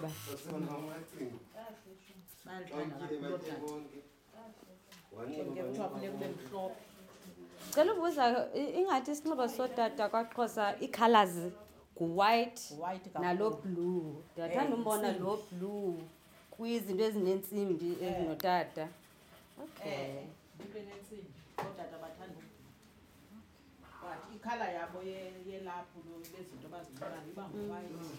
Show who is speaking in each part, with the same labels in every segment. Speaker 1: ba
Speaker 2: kuthiwa funeka ube mhlophe
Speaker 1: cela ubuza i- ingathi isinxibo sotata kwaxhosa ii-colors ngu-white
Speaker 2: white
Speaker 1: nalo blue ndiyathanda
Speaker 2: Eh,
Speaker 1: umbona
Speaker 2: intsimbi.
Speaker 1: lo blue kwizinto ezineentsimbi ezinotata okay
Speaker 3: Eh.
Speaker 2: um ibe nentsimbi ootata bathanda but ikhala yabo ye- yelaphu lo- bezinto bazinxibanayo iba nguwhite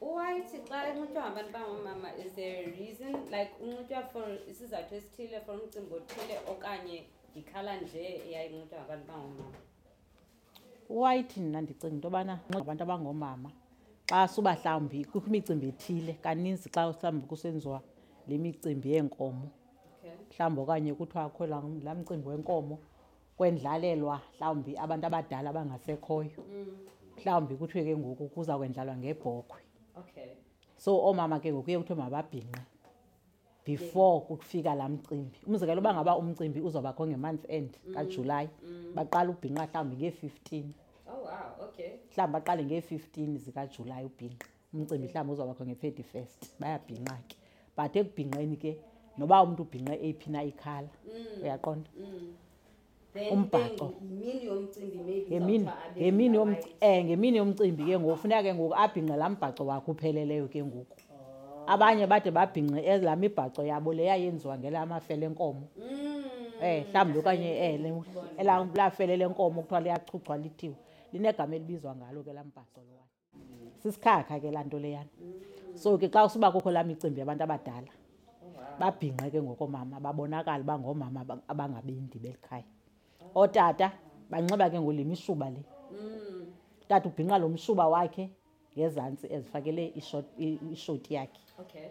Speaker 1: uwhite xa enxitywa ngabantu bangoomama is there a reason like unxitywa for isizathu esithile for umcimbi othile okanye ndikhala nje eyayinxitywa ngabantu bangoomama
Speaker 3: white mna ndicinga into yobana nxiba abantu abangoomama xa suba hlawumbi kukho imicimbi ethile kaninzi xa mhlawumbi kusenziwa le micimbi yeenkomo
Speaker 1: okay
Speaker 3: mhlawumbi okanye kuthiwa kho laa laa mcimbi wenkomo kwendlalelwa mhlawumbi abantu abadala abangasekhoyo
Speaker 1: mm.
Speaker 3: mhlawumbi kuthiwe ke ngoku kuza kwendlalwa ngebhokhwe
Speaker 1: okay
Speaker 3: so oomama ke ngoku kuye kuthiwe mababhinqe before kufika laa mcimbi umzekelo uba ngaba umcimbi uzawubakho nge-month end kajulayi
Speaker 1: mm.
Speaker 3: baqala ubhinqa mhlawumbi ngee-fifteen
Speaker 1: oh wow okay
Speaker 3: mhlawumbi baqale ngee-fifteen zikajulayi ubhinqa umcimbi mhlawumbi uzawubakho nge-thirty first bayabhinqa ke but ekubhinqeni ke noba umntu ubhinqe eyiphi na ikhala
Speaker 1: mm.
Speaker 3: uyaqonda
Speaker 1: Mm. Then
Speaker 3: Umbhaco.
Speaker 1: ibe yimini yomcimbi maybe
Speaker 3: ngemini
Speaker 1: zawuthiwa abe
Speaker 3: ngemini yom-
Speaker 1: ngama-white.
Speaker 3: eh, ngemini yomcimbi ke ngoku funeka ke ngoku abhinqe laa mbhaco wakhe upheleleyo ke ngoku abanye bade babhinqe elaa mibhaco yabo leyayenziwa ngelaa mafele enkomo
Speaker 1: Mm.
Speaker 3: um mhlawumbi okanye eh, le- elaa laa fele lenkomo kuthiwa liyachuchwa lithiwe linegama elibizwa ngalo ke laa mbhaco lowa sisikhakha ke laa nto leyana so ke xa usuba kukho laa micimbi yabantu abadala
Speaker 1: Oh,
Speaker 3: babhinqe ke ngokoomama babonakale uba ngoomama aba- abangabendi beli khaya ootata banxiba ke ngole mishuba le
Speaker 1: Mm.
Speaker 3: tata ubhinqa lo mshuba wakhe ngezantsi ezifakele ishot- i- ishoti yakhe
Speaker 1: Okay.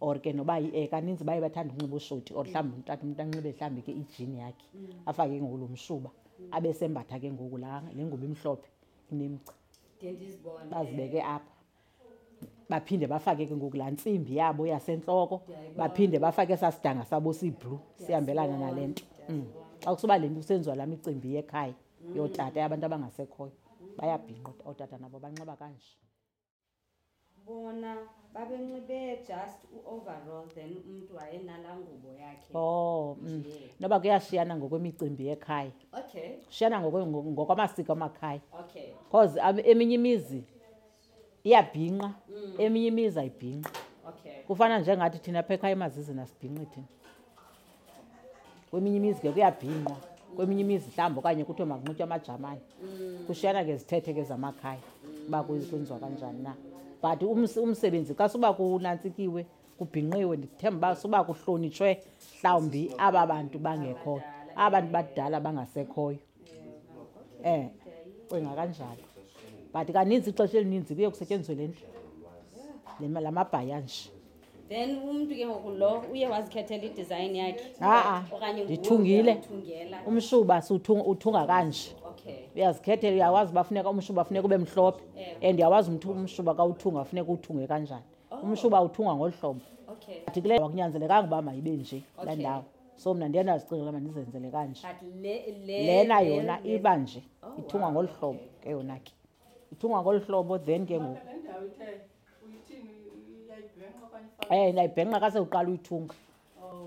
Speaker 3: or ke noba yi-e kaninzi baye bathanda ukunxiba ushoti or mhlawumbi utata umntu anxibe mhlawumbi ke ijini yakhe afake ke ngoku lo mshuba abe sembatha ke ngoku laa le ngubo imhlophe inemca
Speaker 1: Then ndizibone.
Speaker 3: bazibeke apha baphinde bafake ke ngoku laa ntsimbi yabo yasentloko
Speaker 1: Ndiyayibona.
Speaker 3: baphinde bafake esaa sidanga sabo siyiblue sihambelana nale nto Mm. xa kusuba le nto kusenziwa laa micimbi yekhaya yootata yabantu abangasekhoyo bayabhinqa oot- ootata nabo banxiba kanje
Speaker 1: bona babenxibe just u-overall then umntu wayenalaa ngubo yakhe
Speaker 3: oh mm.
Speaker 1: Nje.
Speaker 3: noba kuyashiyana ngokwemicimbi yekhaya
Speaker 1: okay
Speaker 3: shiyana ngokwe- ngo- ngokwamasiko amakhaya
Speaker 1: okay
Speaker 3: because ab- eminye imizi iyabhinqa
Speaker 1: Mm.
Speaker 3: eminye imizi ayibhinqa
Speaker 1: okay
Speaker 3: kufana njengathi thina pha ekhaya emazizini asibhinqi thina kweminye imizi ke kuyabhinqwa kweminye imizi mhlawumbi okanye kuthiwe makunxitywa amajamane kushiyana ke zithethe ke zamakhaya uba kuyi- kwenziwa kanjani na but ums- umsebenzi xa suba kunantsikiwe kubhinqiwe ndithemba uba suba kuhlonitshwe mhlawumbi aba bantu bangekhoyo aba bantu badala bangasekhoyo um cinga kanjalo but kaninzi ixesha elininzi kuye kusetyenziswe le ndlela la mabhaya nje
Speaker 1: then umntu ke ngoku lo uye wazikhethela idesign yakhe
Speaker 3: Ah, ah.
Speaker 1: okanye nguwe
Speaker 3: Ndithungile. Um-
Speaker 1: uyamthungela.
Speaker 3: umshuba siwuthu- uthunga kanje
Speaker 1: okay
Speaker 3: uyazikhethela uyawazi uba funeka umshuba funeka ube mhlophe
Speaker 1: Ewe.
Speaker 3: and uyawazi umthu- umshuba kawuthunga funeka uwuthunge kanjani umshuba uthungwa ngolu hlobo
Speaker 1: okay
Speaker 3: but kule akunyanzelekanga uba mayibe nje
Speaker 1: Okay.
Speaker 3: laa ndawo so mna ndiye ndazicingela uba ndizenzele kanje
Speaker 1: but le le
Speaker 3: lena
Speaker 1: le-
Speaker 3: yona
Speaker 1: le-
Speaker 3: iba nje
Speaker 1: Oh,
Speaker 3: ithungwa
Speaker 1: wow,
Speaker 3: ngolu hlobo ke yona ke ithungwa ngolu hlobo then ke ngoku
Speaker 4: le ndawo ithe uyithini uyayibhenqa okanye Oh. fa
Speaker 3: um ndayibhenqa kasewuqala uyithunga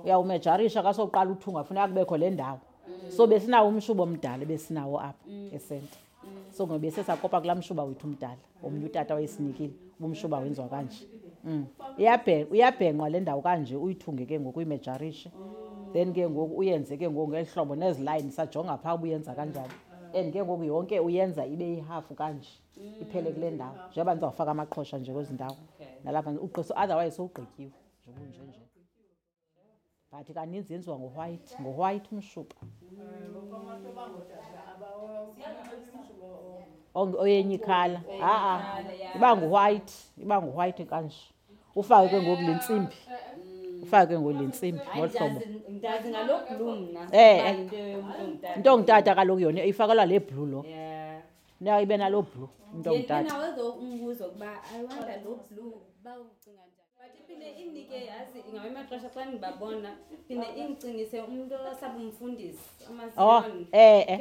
Speaker 3: uyawumejarisha kasowuqala uthunga funeka kubekho le ndawo
Speaker 4: Mm.
Speaker 3: so besinawo umshubo omdala besinawo apha esenta
Speaker 4: Mm.
Speaker 3: so ngobe sesakopa kulaa mshuba wethu umdala omnye utata wayesinikile uba umshuba wenziwa kanje Mm. Iyabhe- uyabhenqwa le ndawo kanje uyithunge ke ngoku uyimejarishe then ke ngoku uyenze ke ngoku ngeli hlobo nezilayini sajonga phaa uba uyenza kanjani and ke ngoku yonke uyenza ibe yihafu kanje iphele kule ndawo njengoba ndizawufaka amaqhosha nje kwezi ndawo
Speaker 1: okay
Speaker 3: nalapha ugqisa otherwise sowugqityiwe nje ubunjenje but kaninzi yenziwa ngowhite ngowhite umshuba
Speaker 4: ngokwamato bangootata abaomshuba
Speaker 3: Ong- oyenye ikhala ha-a
Speaker 1: Oyenye ikhala,
Speaker 3: iba nguwhite iba nguwhite kanje ufake ke ngoku le ntsimbi
Speaker 1: Mm.
Speaker 3: ufake ke ngoku le ntsimbi
Speaker 1: Hayi,
Speaker 3: ngolu hlobo
Speaker 1: ndazi- ndazi ngalo blue mna
Speaker 3: Eh,
Speaker 1: uba
Speaker 3: eh.
Speaker 1: yinto yomntu ongutata.
Speaker 3: into ngutata kaloku yona ifakelwa le blue lo
Speaker 1: Yeah.
Speaker 3: funeka ibe nalo blue into ngutata
Speaker 1: yenawezo umbuzo ukuba iwanda lo blue uba ucinga njani but iphinde indinike yazi ingabe maxesha xa ndibabona phinde indicingise umntu osabumfundisi
Speaker 3: oh eh eh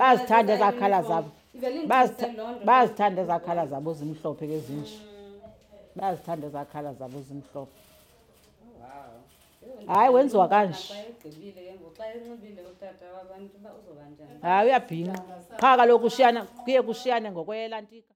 Speaker 3: bazithanda ezaa colour zabo
Speaker 1: ivele
Speaker 3: Bazitha-
Speaker 1: indicingise loo nto
Speaker 3: bazithanda ezaa khala zabo zimhlophe ke zinje bayazithanda ezaa khala zabo zimhlophe
Speaker 2: wow
Speaker 3: Hayi, wenziwa kanje.
Speaker 1: Xa egqibile ke ngoku xa enxibile utata wabantu uba uzoba njani
Speaker 3: Ah, hayi uyabhinqa qha kaloku ushiyana kuye kushiyane ngokweyela ntika